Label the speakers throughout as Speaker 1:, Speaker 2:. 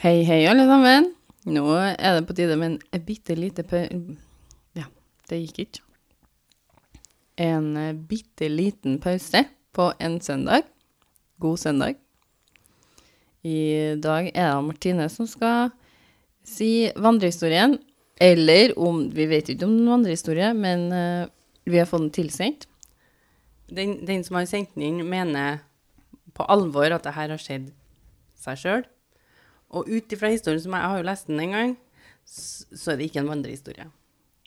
Speaker 1: Hei, hei, alle sammen. Nå er det på tide med en bitte lite pau... Ja, det gikk ikke. En eh, bitte liten pause på en søndag. God søndag. I dag er det Martine som skal si vandrehistorien. Eller om Vi vet ikke om noen vandrehistorie, men eh, vi har fått den tilsendt.
Speaker 2: Den, den som har sendt den inn, mener på alvor at det her har skjedd seg sjøl. Og ut ifra historien som jeg, jeg har jo lest den en gang, s- så er det ikke en vandrehistorie.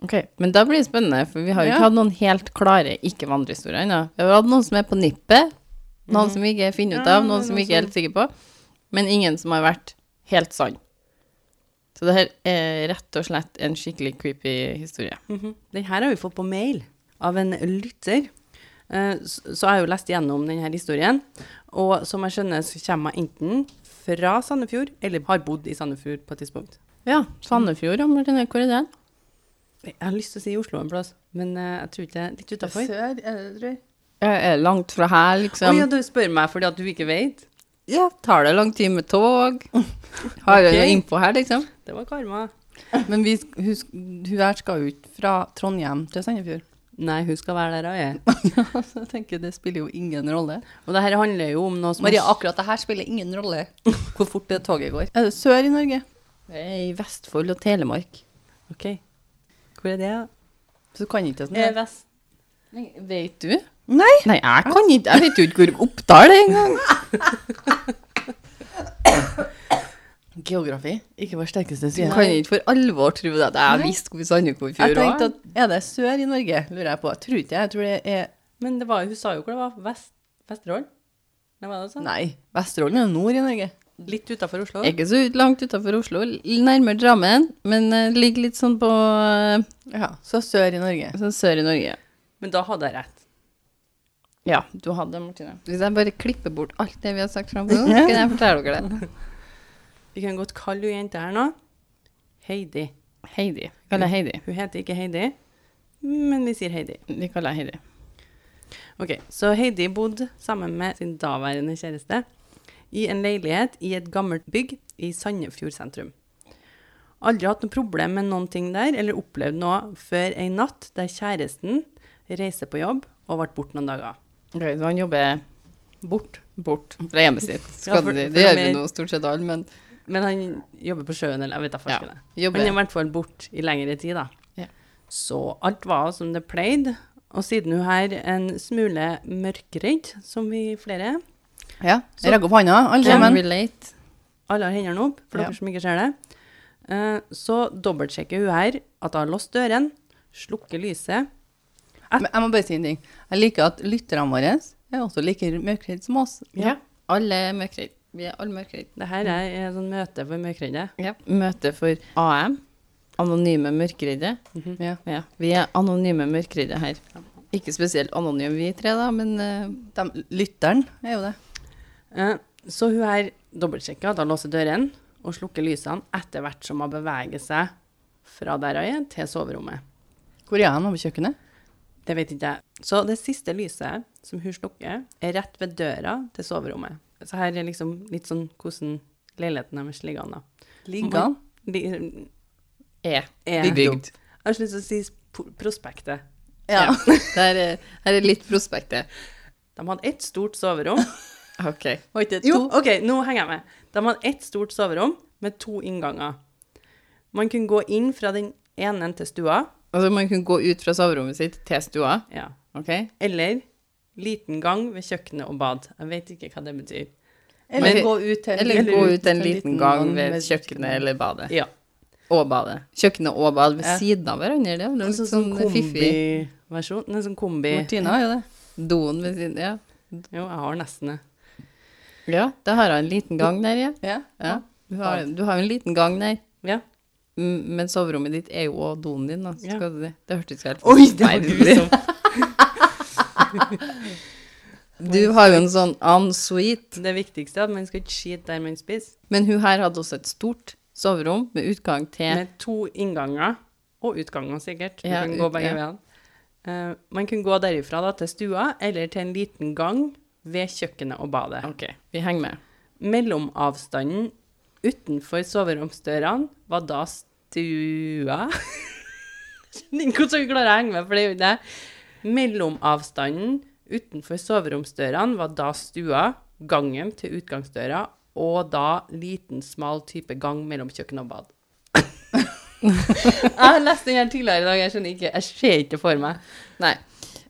Speaker 1: Ok, Men da blir det spennende, for vi har jo ikke
Speaker 2: Ja.
Speaker 1: hatt noen helt klare ikke-vandrehistorier ennå. Vi har hatt noen som er på nippet,
Speaker 3: Mhm.
Speaker 1: noen som vi ikke finner ut
Speaker 2: Ja,
Speaker 1: av, noen som vi ikke er helt sikre på, men ingen som har vært helt sann. Så det her er rett og slett en skikkelig creepy historie.
Speaker 2: Mhm. Den her har vi fått på mail av en lytter. Eh, s- Så jeg har jo lest gjennom denne historien, og som jeg skjønner, så kommer jeg enten fra Sandefjord, eller har bodd i Sandefjord på et tidspunkt.
Speaker 1: Ja, Sandefjord, ja, Martine, hvor er den?
Speaker 2: Jeg har lyst til å si Oslo en plass, men eh, jeg tror ikke det er litt utafor.
Speaker 3: Sør, er det, tror jeg.
Speaker 1: Ja, er det langt fra her,
Speaker 2: Å
Speaker 1: liksom.
Speaker 2: ja, du spør meg fordi at du ikke vet?
Speaker 1: ja, tar det lang tid med tog? Har jeg noe
Speaker 2: Ok.
Speaker 1: innpå her, liksom?
Speaker 2: Det var karma.
Speaker 3: Men vi, sk- husk, hun her skal jo ikke fra Trondheim til Sandefjord.
Speaker 2: Nei, hun skal være der hun er.
Speaker 3: Så jeg tenker det spiller jo ingen rolle.
Speaker 2: Og det her handler jo om noe som
Speaker 3: Maria, akkurat det her spiller ingen rolle hvor fort det toget går. Er det sør i Norge?
Speaker 1: Det er I Vestfold og Telemark.
Speaker 2: Ok. Hvor er det?
Speaker 3: Så du kan ikke det
Speaker 2: Eh,
Speaker 3: sånn.
Speaker 2: vest.
Speaker 1: Nei, Vet du?
Speaker 3: Nei!
Speaker 1: Nei, jeg kan ikke, jeg vet jo ikke hvor Oppdal er engang.
Speaker 3: Geografi.
Speaker 2: Ikke vår sterkeste
Speaker 1: Du
Speaker 2: side.
Speaker 1: kan ikke for alvor tro at jeg
Speaker 3: Nei.
Speaker 1: visste hvor Sandefjord
Speaker 3: Jeg tenkte
Speaker 1: var.
Speaker 3: at, Er det sør i Norge, lurer jeg på. Jeg tror ikke det. Jeg tror det er
Speaker 2: Men det var, hun sa jo hvor det var. Vest, Vesterålen? Nei, var det sånn?
Speaker 3: Nei, Vesterålen er jo nord i Norge.
Speaker 2: Litt utafor Oslo?
Speaker 1: Ikke så ut- langt utafor Oslo, l- nærmere Drammen, men eh, ligger litt sånn på eh,
Speaker 3: Ja, Så sør i Norge.
Speaker 1: sånn sør i Norge.
Speaker 2: Men da hadde jeg rett.
Speaker 1: Ja, du hadde det, Martine. Hvis jeg bare klipper bort alt det vi har sagt fram til nå, så kan jeg fortelle dere det.
Speaker 2: Vi kan godt kalle hun jenta her nå. Heidi.
Speaker 1: Heidi. Vi kaller jeg Heidi.
Speaker 2: Hun heter ikke Heidi, men vi sier Heidi.
Speaker 1: Vi kaller jeg Heidi.
Speaker 2: Ok, Så Heidi bodde sammen med sin daværende kjæreste i en leilighet i et gammelt bygg i Sandefjord sentrum. Aldri hatt noe problem med noen ting der, eller opplevd noe før en natt der kjæresten reiser på jobb og ble borte noen dager.
Speaker 1: Ok, så han jobber
Speaker 2: Bort.
Speaker 1: bort fra hjemmet sitt.
Speaker 2: Ja,
Speaker 1: Skal
Speaker 2: for-
Speaker 1: du si.
Speaker 2: for
Speaker 1: det gjør
Speaker 2: de
Speaker 1: vi
Speaker 2: er-
Speaker 1: nå stort sett alle, men
Speaker 2: Men han jobber på sjøen, eller jeg vet da
Speaker 1: ja,
Speaker 2: faktisk ikke. Men i
Speaker 1: jobber.
Speaker 2: hvert fall bort i lengre tid, da.
Speaker 1: Ja.
Speaker 2: Så alt var som det pleide. Og siden hun her en smule mørkredd, som vi flere er,
Speaker 3: Ja,
Speaker 2: Så-
Speaker 3: Rekk opp hånda, alle
Speaker 1: Can
Speaker 3: sammen.
Speaker 1: relate.
Speaker 2: Alle har hendene opp, for
Speaker 3: Ja.
Speaker 2: dere som ikke ser det. Eh, Så dobbeltsjekker hun her at hun har låst døren, slukker lyset.
Speaker 3: Men jeg må bare si en ting. Jeg liker at lytterne våre er også like mørkredde som oss.
Speaker 1: Ja. Alle er mørkredd. Vi er alle mørkredd.
Speaker 2: Det her
Speaker 3: Mm.
Speaker 2: er et sånt møte for mørkredde.
Speaker 1: Ja. Møte for AM, anonyme mørkeredde.
Speaker 3: Ja.
Speaker 1: Ja, vi er anonyme mørkeredde her. Ikke spesielt anonyme vi tre, da, men eh,
Speaker 3: De, lytteren er jo det.
Speaker 2: Eh, Så hun her dobbeltsjekker at hun låser døren og slukker lysene etter hvert som hun beveger seg fra der hun er, til soverommet.
Speaker 3: Hvor er han over kjøkkenet?
Speaker 2: Det vet ikke jeg. Så det siste lyset som hun slukker, er rett ved døra til soverommet. Så her er liksom litt sånn hvordan leiligheten deres ligger an, da.
Speaker 3: Ligger han?
Speaker 2: De-
Speaker 1: er
Speaker 2: er-
Speaker 1: bebygd.
Speaker 2: Jeg har så lyst til å si sp- prospektet.
Speaker 1: Ja. Der er, her er litt prospektet.
Speaker 2: De hadde ett stort soverom.
Speaker 1: OK.
Speaker 3: Var ikke det
Speaker 2: Jo,
Speaker 3: to?
Speaker 2: OK, nå henger jeg med. De hadde ett stort soverom med to innganger. Man kunne gå inn fra den ene til stua,
Speaker 1: Altså, man kunne gå ut fra soverommet sitt til stua,
Speaker 2: ja.
Speaker 1: OK?
Speaker 2: eller liten gang ved kjøkkenet og bad. Jeg vet ikke hva det betyr.
Speaker 3: Eller
Speaker 1: Men-
Speaker 3: gå ut til
Speaker 1: Eller gå ut en liten gang ved
Speaker 3: ved
Speaker 1: kjøkkenet eller badet.
Speaker 2: Ja.
Speaker 1: Og badet. Kjøkkenet og badet ved
Speaker 3: Ja. Altså,
Speaker 1: siden av hverandre. Det er jo
Speaker 2: En
Speaker 1: litt
Speaker 2: sånn,
Speaker 1: sånn fiffig.
Speaker 2: kombiversjon. En sånn kombi
Speaker 3: Martina er jo det.
Speaker 1: Doen ved siden Ja.
Speaker 2: Jo, jeg har nesten det.
Speaker 1: ja da har hun en liten gang der, ja.
Speaker 3: Ja.
Speaker 1: ja. Du har du har jo en liten gang der.
Speaker 2: Ja.
Speaker 1: Mm, Men soverommet ditt er jo også doen din, da. så
Speaker 2: Ja.
Speaker 1: Skal du si. Det hørtes helt
Speaker 2: Oi, det var
Speaker 1: forferdelig
Speaker 2: du
Speaker 1: ut. Du har jo en sånn en suite,
Speaker 2: Det viktigste er at man skal ikke skite der man spiser.
Speaker 1: men hun her hadde også et stort soverom med utgang til
Speaker 2: Med to innganger, og utganger sikkert. Man
Speaker 1: Ja,
Speaker 2: kunne gå
Speaker 1: ut-
Speaker 2: begge
Speaker 1: ja.
Speaker 2: veiene. Eh, man kunne gå derifra da, til stua, eller til en liten gang ved kjøkkenet og badet.
Speaker 1: OK, vi henger med.
Speaker 2: Mellomavstanden Utenfor soveromsdørene var da stua Skjønner ikke hvordan vi klarer å henge med, for det er jo ikke det. Mellomavstanden utenfor soveromsdørene var da stua, gangen til utgangsdøra, og da liten, smal type gang mellom kjøkken og bad. jeg har lest den her tidligere i dag, jeg skjønner ikke, jeg ser ikke det for meg.
Speaker 1: Nei.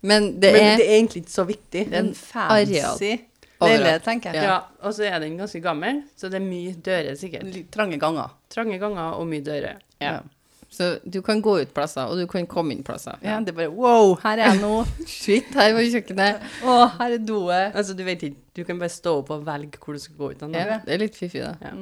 Speaker 1: Men det
Speaker 2: Men
Speaker 1: er
Speaker 2: det er egentlig ikke så viktig.
Speaker 3: Det er en
Speaker 1: areal.
Speaker 3: fancy leilighet, tenker
Speaker 2: Ja.
Speaker 3: jeg.
Speaker 2: og så er den ganske gammel, så det er mye dører sikkert.
Speaker 3: Litt Trange ganger.
Speaker 2: Trange ganger og mye dører.
Speaker 1: ja. Så du kan gå ut plasser, og du kan komme inn plasser.
Speaker 3: Ja, det er bare wow, her er jeg nå.
Speaker 1: Shit, her var kjøkkenet.
Speaker 3: Å, her er doet.
Speaker 2: Altså, du vet ikke, du kan bare stå opp og velge hvor du skal gå ut.
Speaker 1: Ja,
Speaker 2: Ja.
Speaker 1: det er litt fiffig, da.
Speaker 2: Ja.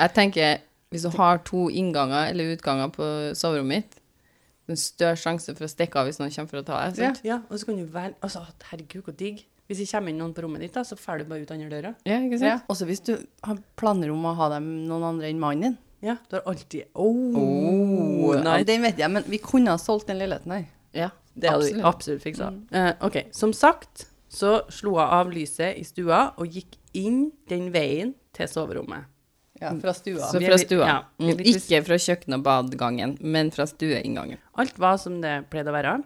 Speaker 1: Jeg tenker, hvis du har to innganger eller utganger på soverommet mitt, det er en større sjanse for å stikke av hvis noen kommer for å ta deg. sant?
Speaker 2: ja, og så kan du velge, altså, herregud, hvor digg. Hvis det kommer inn noen på rommet ditt, da, så fer du bare ut andre døra.
Speaker 1: Ja, ikke
Speaker 3: Ja.
Speaker 1: sant?
Speaker 3: Også hvis du har planer om å ha dem noen andre enn mannen din.
Speaker 2: Ja, du har alltid, oh,
Speaker 3: Ja,
Speaker 2: nice.
Speaker 3: den vet jeg, men vi kunne ha solgt den leiligheten her.
Speaker 1: Ja,
Speaker 2: Det hadde vi
Speaker 1: absolutt.
Speaker 2: absolutt fiksa. Eh, ok, som sagt så slo jeg av lyset i stua og gikk inn den veien til soverommet.
Speaker 3: Ja, fra stua.
Speaker 1: Så
Speaker 2: Vi er
Speaker 1: fra
Speaker 2: litt-
Speaker 1: stua.
Speaker 2: ja, vi er
Speaker 1: Mm,
Speaker 2: litt vis-
Speaker 1: Ikke fra kjøkken- og badgangen, men fra stueinngangen.
Speaker 2: Alt var som det pleide å være.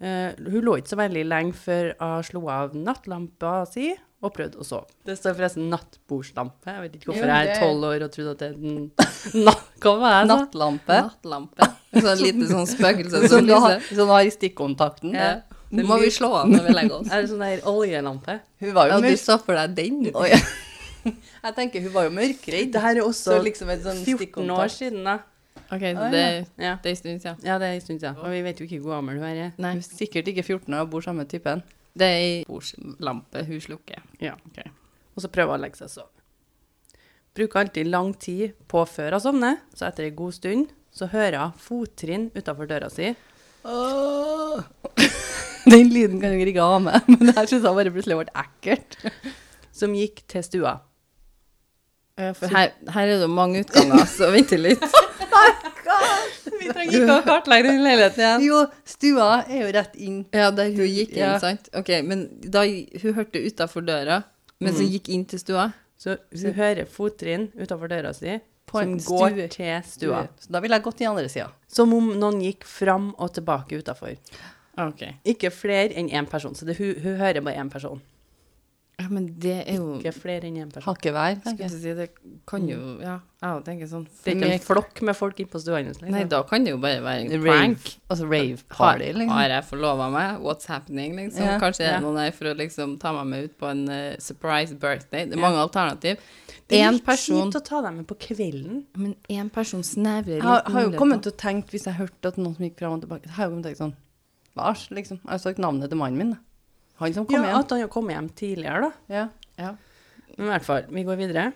Speaker 2: Eh, hun lå ikke så veldig lenge før hun slo av nattlampa si og prøvde å sove. Det står forresten nattbordslampe. Jeg vet ikke hvorfor
Speaker 3: Jo,
Speaker 2: jeg er
Speaker 3: det-
Speaker 2: tolv år og trodde at det er den natt... Hva var det jeg sa?
Speaker 3: Nattlampe.
Speaker 1: Nattlampe. Sånn lite sånn spøkelse som
Speaker 3: Som du har,
Speaker 1: lyser.
Speaker 3: som du har i stikkontakten.
Speaker 2: Ja.
Speaker 1: Nå må vi slå av når vi legger oss.
Speaker 2: Er det sånn der oljelampe?
Speaker 3: Hun var jo
Speaker 1: Ja, du
Speaker 3: mørk.
Speaker 1: så for deg den?
Speaker 3: Å, ja. Jeg tenker hun var jo mørkredd.
Speaker 2: Det her er
Speaker 3: Så
Speaker 2: også
Speaker 3: liksom et sånn
Speaker 2: 14 år
Speaker 3: stikkontakt.
Speaker 2: siden, da.
Speaker 1: OK, så
Speaker 3: Å,
Speaker 1: det,
Speaker 2: Ja.
Speaker 1: det er en stund siden.
Speaker 2: ja, det er en stund siden. Og vi vet jo ikke hvor gammel hun er.
Speaker 1: Nei,
Speaker 3: Hun er sikkert ikke 14 år og bor sammen med typen.
Speaker 1: det er ei bordslampe hun slukker.
Speaker 2: Ja. Og så prøver hun å legge seg og sove. Bruker alltid lang tid på før hun sovner, så etter en god stund så hører hun fottrinn utafor døra si.
Speaker 3: Den lyden kan jeg ikke ha med, men det her syns jeg bare plutselig ble ekkelt.
Speaker 2: som gikk til stua.
Speaker 1: For her, her er det jo mange utganger, så vent litt.
Speaker 2: Vi trenger ikke å kartlegge den leiligheten igjen.
Speaker 3: Jo, stua er jo rett inn.
Speaker 1: Ja, der hun gikk inn,
Speaker 3: Ja.
Speaker 1: sant? OK, men da hun hørte utafor døra, men så gikk inn til stua.
Speaker 2: Så hun hører fottrinn utafor døra si
Speaker 3: På
Speaker 2: som
Speaker 3: en
Speaker 2: går
Speaker 3: stue.
Speaker 2: til stua.
Speaker 3: Så da ville jeg gått til andre sida.
Speaker 2: Som om noen gikk fram og tilbake utafor.
Speaker 1: OK.
Speaker 2: Ikke flere enn én person. Så det, hun, hun hører bare én person.
Speaker 1: Ja, men det er jo
Speaker 2: Ikke flere enn én person.
Speaker 3: Hakket hver.
Speaker 1: Skulle
Speaker 3: tenker jeg.
Speaker 1: til å si, det kan jo Ja, jeg òg tenker sånn.
Speaker 2: Det er ikke en flokk med folk inne på stua hennes. liksom.
Speaker 1: Nei, da kan det jo bare være en prank.
Speaker 3: Rave. Altså rave
Speaker 1: Har,
Speaker 3: party, liksom.
Speaker 1: har jeg forlova meg? What's happening? Liksom.
Speaker 3: Ja,
Speaker 1: Kanskje er
Speaker 2: ja.
Speaker 1: det noen her for å liksom, ta meg med ut på en eh, surprise birthday? Det er
Speaker 2: Ja.
Speaker 1: mange alternativ.
Speaker 2: det er
Speaker 1: En
Speaker 2: litt
Speaker 1: person,
Speaker 2: kjipt å ta dem med på kvelden.
Speaker 1: men én person snevrer
Speaker 3: Jeg har, har jo kommet til å tenke, hvis jeg hørte at noen som gikk fram og tilbake, har jeg jo kommet til å tenke sånn Lars, liksom. Jeg har sagt navnet til mannen min. da. Han som kom
Speaker 2: ja,
Speaker 3: hjem.
Speaker 2: At han har kommet hjem tidligere, da.
Speaker 3: Ja.
Speaker 1: ja.
Speaker 2: Men i hvert fall, vi går videre.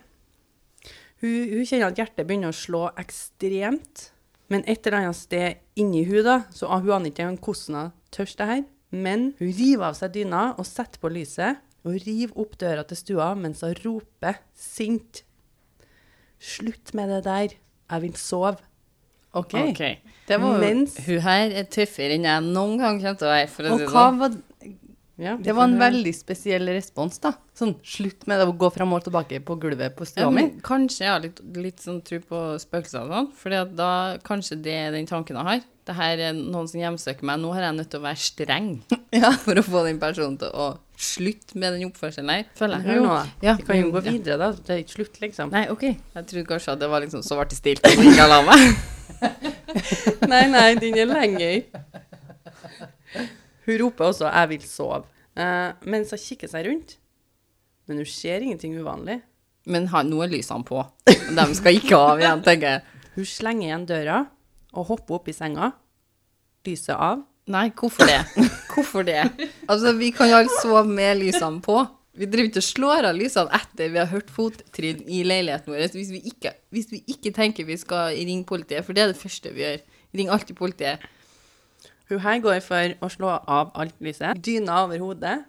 Speaker 2: Hun, hun kjenner at hjertet begynner å slå ekstremt, men et eller annet sted inni hun da, så hun aner ikke engang hvordan hun tørs det her, men hun river av seg dyna og setter på lyset, og river opp døra til stua mens hun roper sint. Slutt med det der, jeg vil sove.
Speaker 3: OK.
Speaker 1: OK.
Speaker 3: Det var jo
Speaker 2: Mens,
Speaker 1: Hun her er tøffere enn jeg noen gang kommer til å være, for å
Speaker 3: Og
Speaker 1: si det
Speaker 3: hva
Speaker 1: sånn.
Speaker 3: var
Speaker 2: ja,
Speaker 3: Det var en veldig spesiell respons, da. Sånn slutt med det å gå fram og tilbake på gulvet på
Speaker 1: Ja,
Speaker 3: stua mi.
Speaker 1: men kanskje jeg har litt, litt sånn tro på spøkelser og sånn, for da kanskje det er den tanken jeg har. Det her er noen som hjemsøker meg. Nå har jeg nødt til å være streng for å få den personen til å slutte med den oppførselen her, føler jeg.
Speaker 2: Hør nå, da.
Speaker 1: Ja,
Speaker 2: vi kan jo
Speaker 1: men-
Speaker 2: gå
Speaker 1: ja.
Speaker 2: videre da, det er ikke slutt liksom.
Speaker 1: Nei, ok. Jeg trodde kanskje at det var liksom så ble det stilt at hun ikke la meg.
Speaker 2: Nei, nei, den er lenger. Hun roper også 'jeg vil sove', eh, mens hun kikker seg rundt. Men hun ser ingenting uvanlig.
Speaker 1: Men ha, nå er lysene på. Og de skal ikke av igjen, tenker jeg.
Speaker 2: Hun slenger igjen døra og hopper opp i senga. Lyset av.
Speaker 1: Nei, hvorfor det? Hvorfor det? Altså, vi kan jo alle sove med lysene på. Vi driver ikke og slår av lysene etter vi har hørt fottrinn i leiligheten vår, hvis vi ikke, hvis vi ikke tenker vi skal ringe politiet, for det er det første vi gjør. Ring alltid politiet.
Speaker 2: Hun her går for å slå av alt lyset. Dyna over hodet.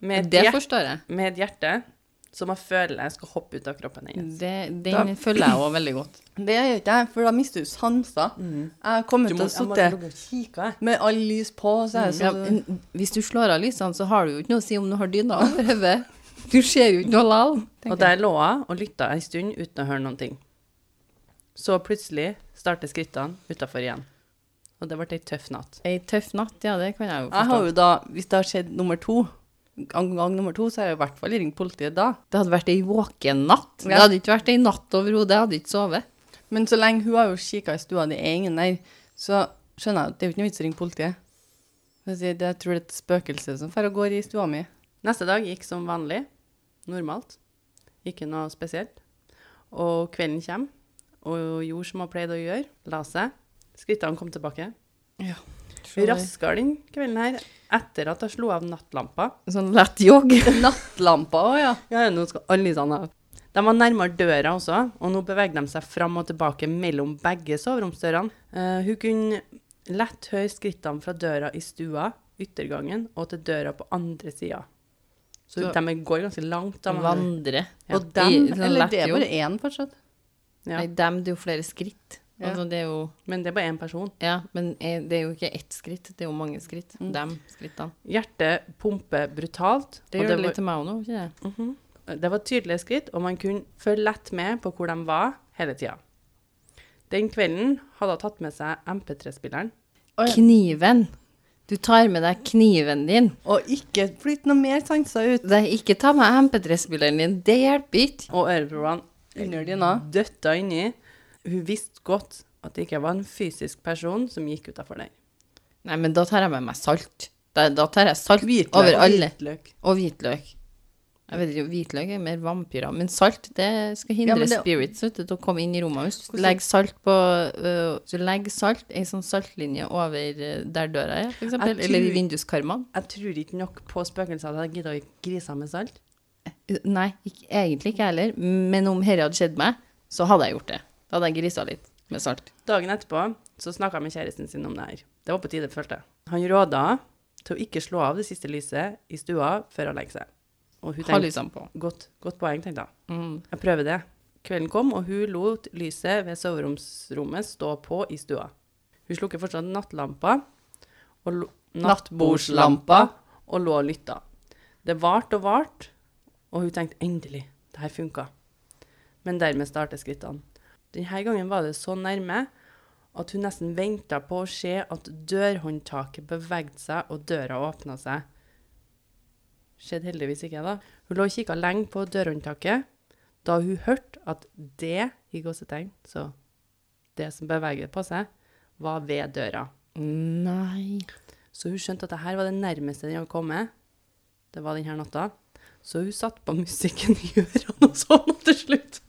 Speaker 2: Med et,
Speaker 1: Det
Speaker 2: hjerte,
Speaker 1: forstår jeg.
Speaker 2: med et hjerte som hun føler skal hoppe ut av kroppen hennes.
Speaker 1: Det, den følger jeg òg veldig godt.
Speaker 3: Det gjør ikke jeg, for da mister du sanser.
Speaker 2: Mm.
Speaker 3: Jeg har kommet til å sitte
Speaker 2: kikke.
Speaker 3: med all lys på, og så er jeg
Speaker 1: Ja,
Speaker 2: Mm.
Speaker 3: sånn
Speaker 1: men hvis du slår av lysene, så har du jo ikke noe å si om du har dyna over hodet.
Speaker 3: Du ser jo ikke noe likevel.
Speaker 2: Og
Speaker 3: tenker jeg.
Speaker 2: der lå jeg og lytta ei stund uten å høre noen ting. Så plutselig starter skrittene utafor igjen. Og det ble ei tøff natt.
Speaker 1: Ei tøff natt, ja, det kan jeg jo
Speaker 3: Jeg
Speaker 1: forstå.
Speaker 3: har jo da, hvis det har skjedd nummer to, gang, gang nummer to, så har jeg i hvert fall ringt politiet da.
Speaker 1: Det hadde vært ei våken natt.
Speaker 3: Ja.
Speaker 1: Det hadde ikke vært ei natt overhodet. Jeg hadde ikke sovet.
Speaker 3: Men så lenge hun har jo kikka i stua, det er ingen der, så skjønner jeg at det er jo ikke noe vits å ringe politiet. Jeg, sier, det- jeg tror det er et spøkelse som drar og går i stua mi.
Speaker 2: Neste dag gikk som vanlig. Normalt. Ikke noe spesielt. Og kvelden kommer, og gjorde som hun pleide å gjøre. La seg. Skrittene kom tilbake. Raskere den kvelden her, etter at jeg slo av nattlampa.
Speaker 1: Sånn lett jogg.
Speaker 3: Nattlampa òg, ja.
Speaker 2: Ja, ja, nå skal alle sånne av. De var nærmere døra også, og nå beveget de seg fram og tilbake mellom begge soveromsdørene. Eh, hun kunne lett høre skrittene fra døra i stua, yttergangen, og til døra på andre sida. Så,
Speaker 1: Så-
Speaker 2: de går ganske langt. da, men-
Speaker 1: Vandre. I-
Speaker 2: Ja.
Speaker 3: Og dem,
Speaker 1: sånn
Speaker 3: eller
Speaker 1: lett
Speaker 3: det er
Speaker 1: jogg.
Speaker 3: bare én fortsatt.
Speaker 2: Ja.
Speaker 1: Nei, dem, det er jo flere skritt.
Speaker 3: Ja.
Speaker 1: Altså, det er jo
Speaker 2: Men det er bare én person.
Speaker 1: Ja, men eh, det er jo ikke ett skritt, det er jo mange skritt.
Speaker 3: Mm.
Speaker 1: Dem skrittene.
Speaker 2: Hjertet pumper brutalt.
Speaker 1: Det
Speaker 2: og
Speaker 1: gjør det Mm.
Speaker 2: var-
Speaker 1: litt til meg òg nå, ikke det?
Speaker 2: Mhm. Det var tydelige skritt, og man kunne følge lett med på hvor de var hele tida. Den kvelden hadde hun tatt med seg MP3-spilleren.
Speaker 3: Å, ja.
Speaker 1: Kniven. Du tar med deg kniven din.
Speaker 3: Og ikke flytt noe mer sanser ut
Speaker 1: Det er ikke ta med MP3-spilleren din, det hjelper ikke.
Speaker 2: Og øreproppene
Speaker 3: under dyna.
Speaker 2: døtta inni. Hun visste godt at det ikke var en fysisk person som gikk utafor der.
Speaker 1: Nei, men da tar jeg med meg salt. Da, da tar jeg salt
Speaker 3: Hvitløk.
Speaker 1: over alle.
Speaker 2: Hvitløk.
Speaker 1: Og hvitløk. Jeg vet ikke, Hvitløk er mer vampyrer. Men salt det skal
Speaker 3: Ja,
Speaker 1: hindre
Speaker 3: men det-
Speaker 1: spirits vet du, til å komme inn i rommet. Hvis du
Speaker 3: Hvordan-
Speaker 1: legger salt på øh, Hvis du legger salt, ei sånn saltlinje over øh, der døra er, f.eks.,
Speaker 2: Jeg tror-
Speaker 1: eller i vinduskarmene
Speaker 2: Jeg tror ikke nok på spøkelser at jeg gidder å gi griser med salt.
Speaker 1: Nei, ikke, egentlig ikke jeg heller. Men om dette hadde skjedd meg, så hadde jeg gjort det. Da hadde jeg grisa litt med salt.
Speaker 2: Dagen etterpå så snakka jeg med kjæresten sin om det her. Det var på tide, følte jeg. Han råda henne til å ikke slå av det siste lyset i stua før hun legger seg. Og hun
Speaker 1: Ha
Speaker 2: tenkte
Speaker 1: lysene liksom på.
Speaker 2: godt, godt poeng, tenkte jeg.
Speaker 1: Mm.
Speaker 2: Jeg prøver det. Kvelden kom, og hun lot lyset ved soveromsrommet stå på i stua. Hun slukker fortsatt nattlampa og lo-
Speaker 3: Nattbordslampa.
Speaker 2: og lå og lytta. Det varte og varte, og hun tenkte endelig, det her funka. Men dermed startet skrittene. Denne gangen var det så nærme at hun nesten venta på å se at dørhåndtaket bevegde seg og døra åpna seg. Skjedde heldigvis ikke, da. Hun lå og kikka lenge på dørhåndtaket da hun hørte at det, i gåsetegn, så det som beveget på seg, var ved døra.
Speaker 1: Nei
Speaker 2: Så hun skjønte at det her var det nærmeste den hadde kommet. Det var denne natta. Så hun satte på musikken i ørene og sånn til slutt.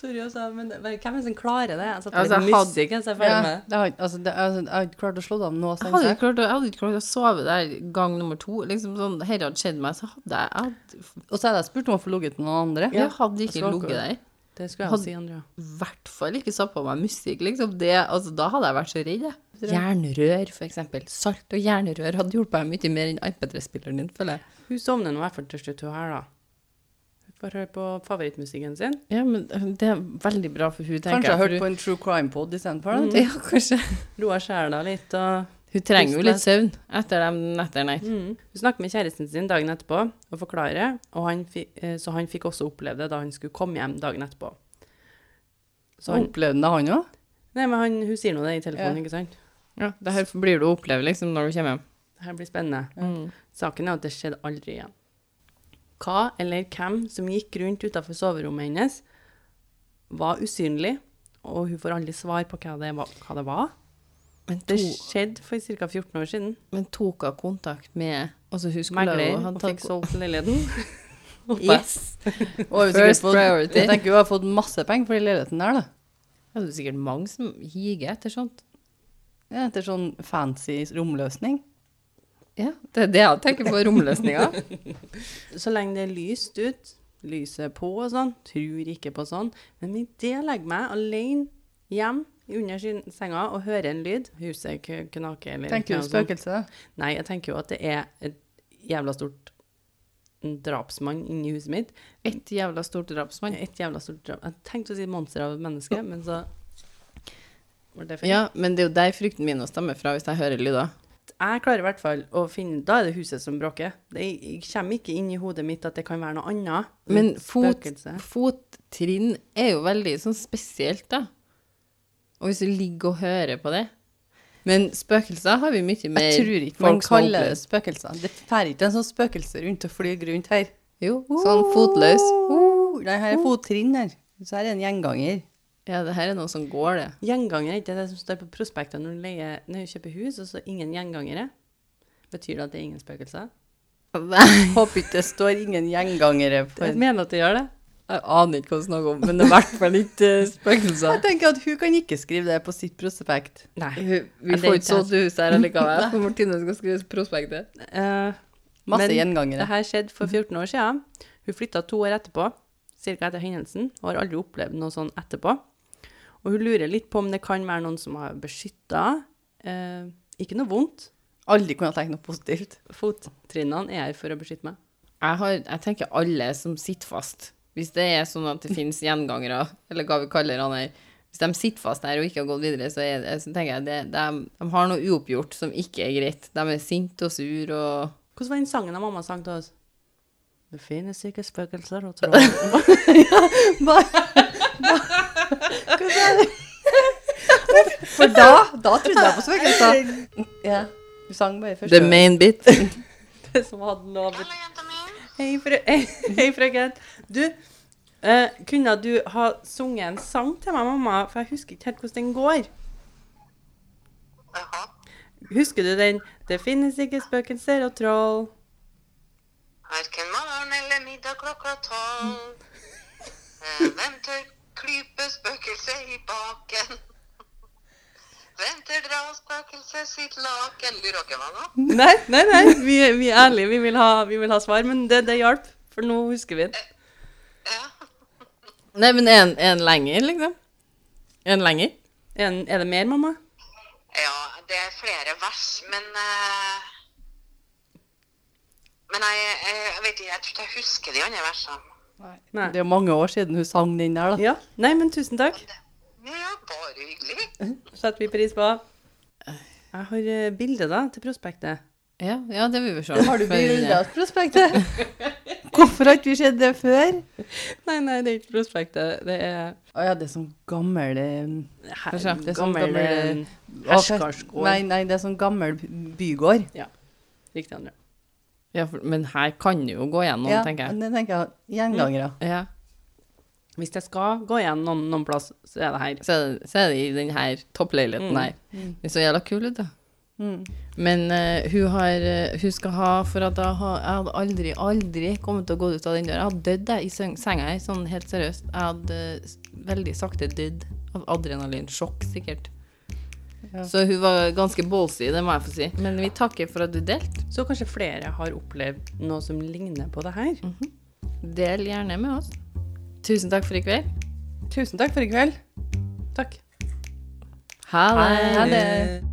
Speaker 2: Sorry, altså, men men hvem er det som klarer det? Jeg satte på
Speaker 1: Altså,
Speaker 2: litt
Speaker 1: jeg hadde-
Speaker 2: musikk, jeg, så jeg følger
Speaker 3: Ja,
Speaker 2: med.
Speaker 3: det har, altså, det, altså, jeg har ikke klart å slå dem nå.
Speaker 1: jeg hadde,
Speaker 3: sanser.
Speaker 1: ikke klart, å- jeg hadde ikke klart å sove der gang nummer to. Liksom sånn, Dette hadde skjedd meg, så hadde jeg jeg hadde,
Speaker 3: Og så hadde jeg spurt om å få ligget med noen andre.
Speaker 2: Ja,
Speaker 1: Jeg hadde
Speaker 2: jeg
Speaker 1: ikke
Speaker 2: så
Speaker 1: ligget
Speaker 2: akkurat.
Speaker 1: der.
Speaker 2: Det skulle jeg
Speaker 1: Hadde-
Speaker 2: også si, Andrea.
Speaker 1: I hvert fall ikke satt på meg musikk. Liksom. Det, altså, da hadde jeg vært så redd. jeg. Jernrør, for eksempel. Salt og jernrør hadde hjulpet meg mye mer enn iPad-spilleren din, føler jeg.
Speaker 2: Hun sovner nå i hvert fall til slutt, hun her, da. Hun får høre på favorittmusikken sin.
Speaker 1: Ja, men øh, det er veldig bra for hun,
Speaker 3: Kanskje jeg Mm. har hørt på en True Crime-pod istedenfor. da, vet du.
Speaker 1: Ja, kanskje.
Speaker 2: Roa sjela litt og
Speaker 1: Hun trenger jo litt søvn etter de nettene. her.
Speaker 2: Mm. Hun snakket med kjæresten sin dagen etterpå og forklarer, og han fi, eh, så han fikk også oppleve det da han skulle komme hjem dagen etterpå. Så
Speaker 3: Så
Speaker 2: han,
Speaker 3: opplevde han det, han òg?
Speaker 2: nei, men han, hun sier nå det i telefonen,
Speaker 3: Ja.
Speaker 2: ikke sant?
Speaker 1: Mm. Ja, det her blir du å oppleve liksom, når du kommer hjem.
Speaker 2: Det her blir spennende.
Speaker 1: Mm.
Speaker 2: Saken er at det skjedde aldri igjen. Hva eller hvem som gikk rundt utenfor soverommet hennes, var usynlig, og hun får aldri svar på hva det var. Hva det, var.
Speaker 1: Men,
Speaker 2: det
Speaker 1: to,
Speaker 2: skjedde for ca. 14 år siden.
Speaker 1: men tok hun kontakt med Altså, hun skulle
Speaker 2: Megler
Speaker 1: jo ha
Speaker 2: og
Speaker 1: tatt
Speaker 2: fikk solgt leiligheten.
Speaker 1: Yes!
Speaker 3: Og
Speaker 1: First
Speaker 3: fått,
Speaker 1: priority.
Speaker 3: jeg tenker hun har fått masse penger for den leiligheten der, da.
Speaker 1: Ja, Det er sikkert mange som higer etter sånt.
Speaker 3: Ja, etter sånn fancy romløsning.
Speaker 1: Ja, det er det jeg tenker på romløsninger.
Speaker 2: Så lenge det er lyst ut, lyset på og sånn, tror ikke på sånn. Men i det jeg legger meg alene hjem under syn- senga og hører en lyd, huset k- knaker eller
Speaker 3: Tenker
Speaker 2: noe
Speaker 3: du
Speaker 2: sånt.
Speaker 3: spøkelse?
Speaker 2: Nei, jeg tenker jo at det er et jævla stort drapsmann inni huset mitt.
Speaker 1: Et jævla stort drapsmann.
Speaker 2: Et jævla stort drap... Jeg tenkte å si monster av et menneske, men så var det feil.
Speaker 1: Ja, men det er jo der frykten min å stemme fra hvis jeg hører lyder.
Speaker 2: Jeg klarer i hvert fall å finne Da er det huset som bråker. Det jeg kommer ikke inn i hodet mitt at det kan være noe annet.
Speaker 1: Men
Speaker 2: Et
Speaker 1: fot,
Speaker 2: spøkelse.
Speaker 1: fottrinn er jo veldig sånn spesielt, da. Og hvis du ligger og hører på det Men spøkelser har vi mye mer
Speaker 3: Jeg tror ikke
Speaker 1: som
Speaker 3: man
Speaker 1: har
Speaker 3: kaller det
Speaker 1: opplevd.
Speaker 3: spøkelser. Det fer ikke en sånn spøkelse rundt og flyr rundt her.
Speaker 1: Jo, sånn fotløs.
Speaker 3: Uh, Nei, her er fottrinn her. Så her er en gjenganger.
Speaker 1: Ja, det her er noe som går, det.
Speaker 2: Gjenganger er ikke det som står på prospektet når du, leier, når du kjøper hus, og så ingen gjengangere. Betyr det at det er ingen spøkelser?
Speaker 3: Håper ikke det står ingen gjengangere på
Speaker 2: Jeg
Speaker 3: en
Speaker 2: mener at det gjør det.
Speaker 1: Jeg aner ikke hva du snakker om, men det er i hvert fall ikke eh,
Speaker 3: Jeg
Speaker 1: spøkelser.
Speaker 3: tenker at hun kan ikke skrive det på sitt prospekt.
Speaker 2: Nei.
Speaker 1: Hun-
Speaker 2: Ja,
Speaker 1: Vi
Speaker 2: det er
Speaker 1: får
Speaker 2: ikke
Speaker 1: ikke solgt huset her allikevel. For Martine skal skrive prospektet.
Speaker 2: Eh,
Speaker 3: Masse
Speaker 2: Men-
Speaker 3: gjengangere.
Speaker 2: Det her skjedde for 14 år siden. Hun flytta to år etterpå, ca. etter hendelsen, og har aldri opplevd noe sånn etterpå. Og hun lurer litt på om det kan være noen som har beskytta. Eh, ikke noe vondt.
Speaker 3: Aldri kunne ha tenkt noe positivt.
Speaker 2: Fottrinnene er her for å beskytte meg.
Speaker 1: Jeg, har, jeg tenker alle som sitter fast. Hvis det er sånn at det finnes gjengangere, eller hva vi kaller han her, hvis de sitter fast her og ikke har gått videre, så, er det, så tenker jeg det, de, de har noe uoppgjort som ikke er greit. De er sinte og sur og
Speaker 2: Hvordan var den sangen av mamma sang til oss? Det finnes ikke spøkelser og troll.
Speaker 3: For da, da trodde jeg på spøkelser. Ja. Du sang bare først.
Speaker 1: The main bit.
Speaker 2: Det som hadde lovet. Hei, frø- hei, frøken. Du, eh, kunne du ha sunget en sang til meg, mamma? For jeg husker ikke helt hvordan den går.
Speaker 4: Jaha.
Speaker 2: Husker du den? Det finnes ikke spøkelser og troll.
Speaker 4: Hverken morgen eller middag klokka tolv. Eh, Hvem tør klype spøkelset i baken? Hvem tør dra spøkelset sitt laken? Lurer dere meg nå?
Speaker 2: Nei, nei, nei. Vi, vi er ærlige. Vi vil ha, vi vil ha svar. Men det, det hjalp, for nå husker vi det.
Speaker 4: Ja.
Speaker 1: Nei, men en, en lenger, liksom. En lenger.
Speaker 2: En, er det mer, mamma?
Speaker 4: ja, det er flere vers, men eh, Men jeg, jeg, jeg vet ikke, jeg tror ikke jeg husker de andre versene.
Speaker 2: Nei.
Speaker 3: Det er jo mange år siden hun sang den der, da.
Speaker 2: Ja. Nei, men tusen takk.
Speaker 4: Ja, bare hyggelig.
Speaker 2: Setter vi pris på. Jeg har eh, bilde da, til prospektet.
Speaker 1: Ja, ja, det vil vi se.
Speaker 3: Har du
Speaker 1: Før vi-
Speaker 3: bildet av prospektet? eh, Hvorfor har ikke vi sett det før?
Speaker 2: Nei, nei, det er ikke prospektet. Det er
Speaker 3: Å ja, det er sånn gammel eh,
Speaker 2: her,
Speaker 1: Hva sa jeg?
Speaker 3: Det er sånn
Speaker 2: gammel
Speaker 3: gammel,
Speaker 2: eh, herskarskår.
Speaker 3: Nei, nei, det er sånn gammel bygård.
Speaker 2: Riktig, Andrea.
Speaker 1: Ja, for, men her kan det jo gå gjennom,
Speaker 3: ja,
Speaker 1: tenker jeg.
Speaker 3: Det tenker jeg. Gjengangere.
Speaker 1: Ja.
Speaker 2: Hvis jeg skal gå igjen noen, noen plass, så er det her.
Speaker 1: Så, er det- så er det i den her toppleiligheten
Speaker 2: Mm.
Speaker 1: her. Det er så jævla kul ut, da.
Speaker 3: Mm.
Speaker 1: Men eh, hun, har, eh, hun skal ha For at jeg, har, jeg hadde aldri, aldri kommet til å gå ut av den døra. Jeg hadde dødd jeg, i seng- senga her, sånn helt seriøst. Jeg hadde eh, s- veldig sakte dødd av adrenalinsjokk, sikkert.
Speaker 3: Ja.
Speaker 1: Så hun var ganske ballsy, det må jeg få si. Men vi takker for at du delte.
Speaker 2: Så kanskje flere har opplevd noe som ligner på det her.
Speaker 1: Del gjerne med oss. Tusen takk for i kveld.
Speaker 3: Tusen takk for i kveld.
Speaker 2: Takk.
Speaker 1: Ha det.
Speaker 3: Ha det.
Speaker 2: Eh,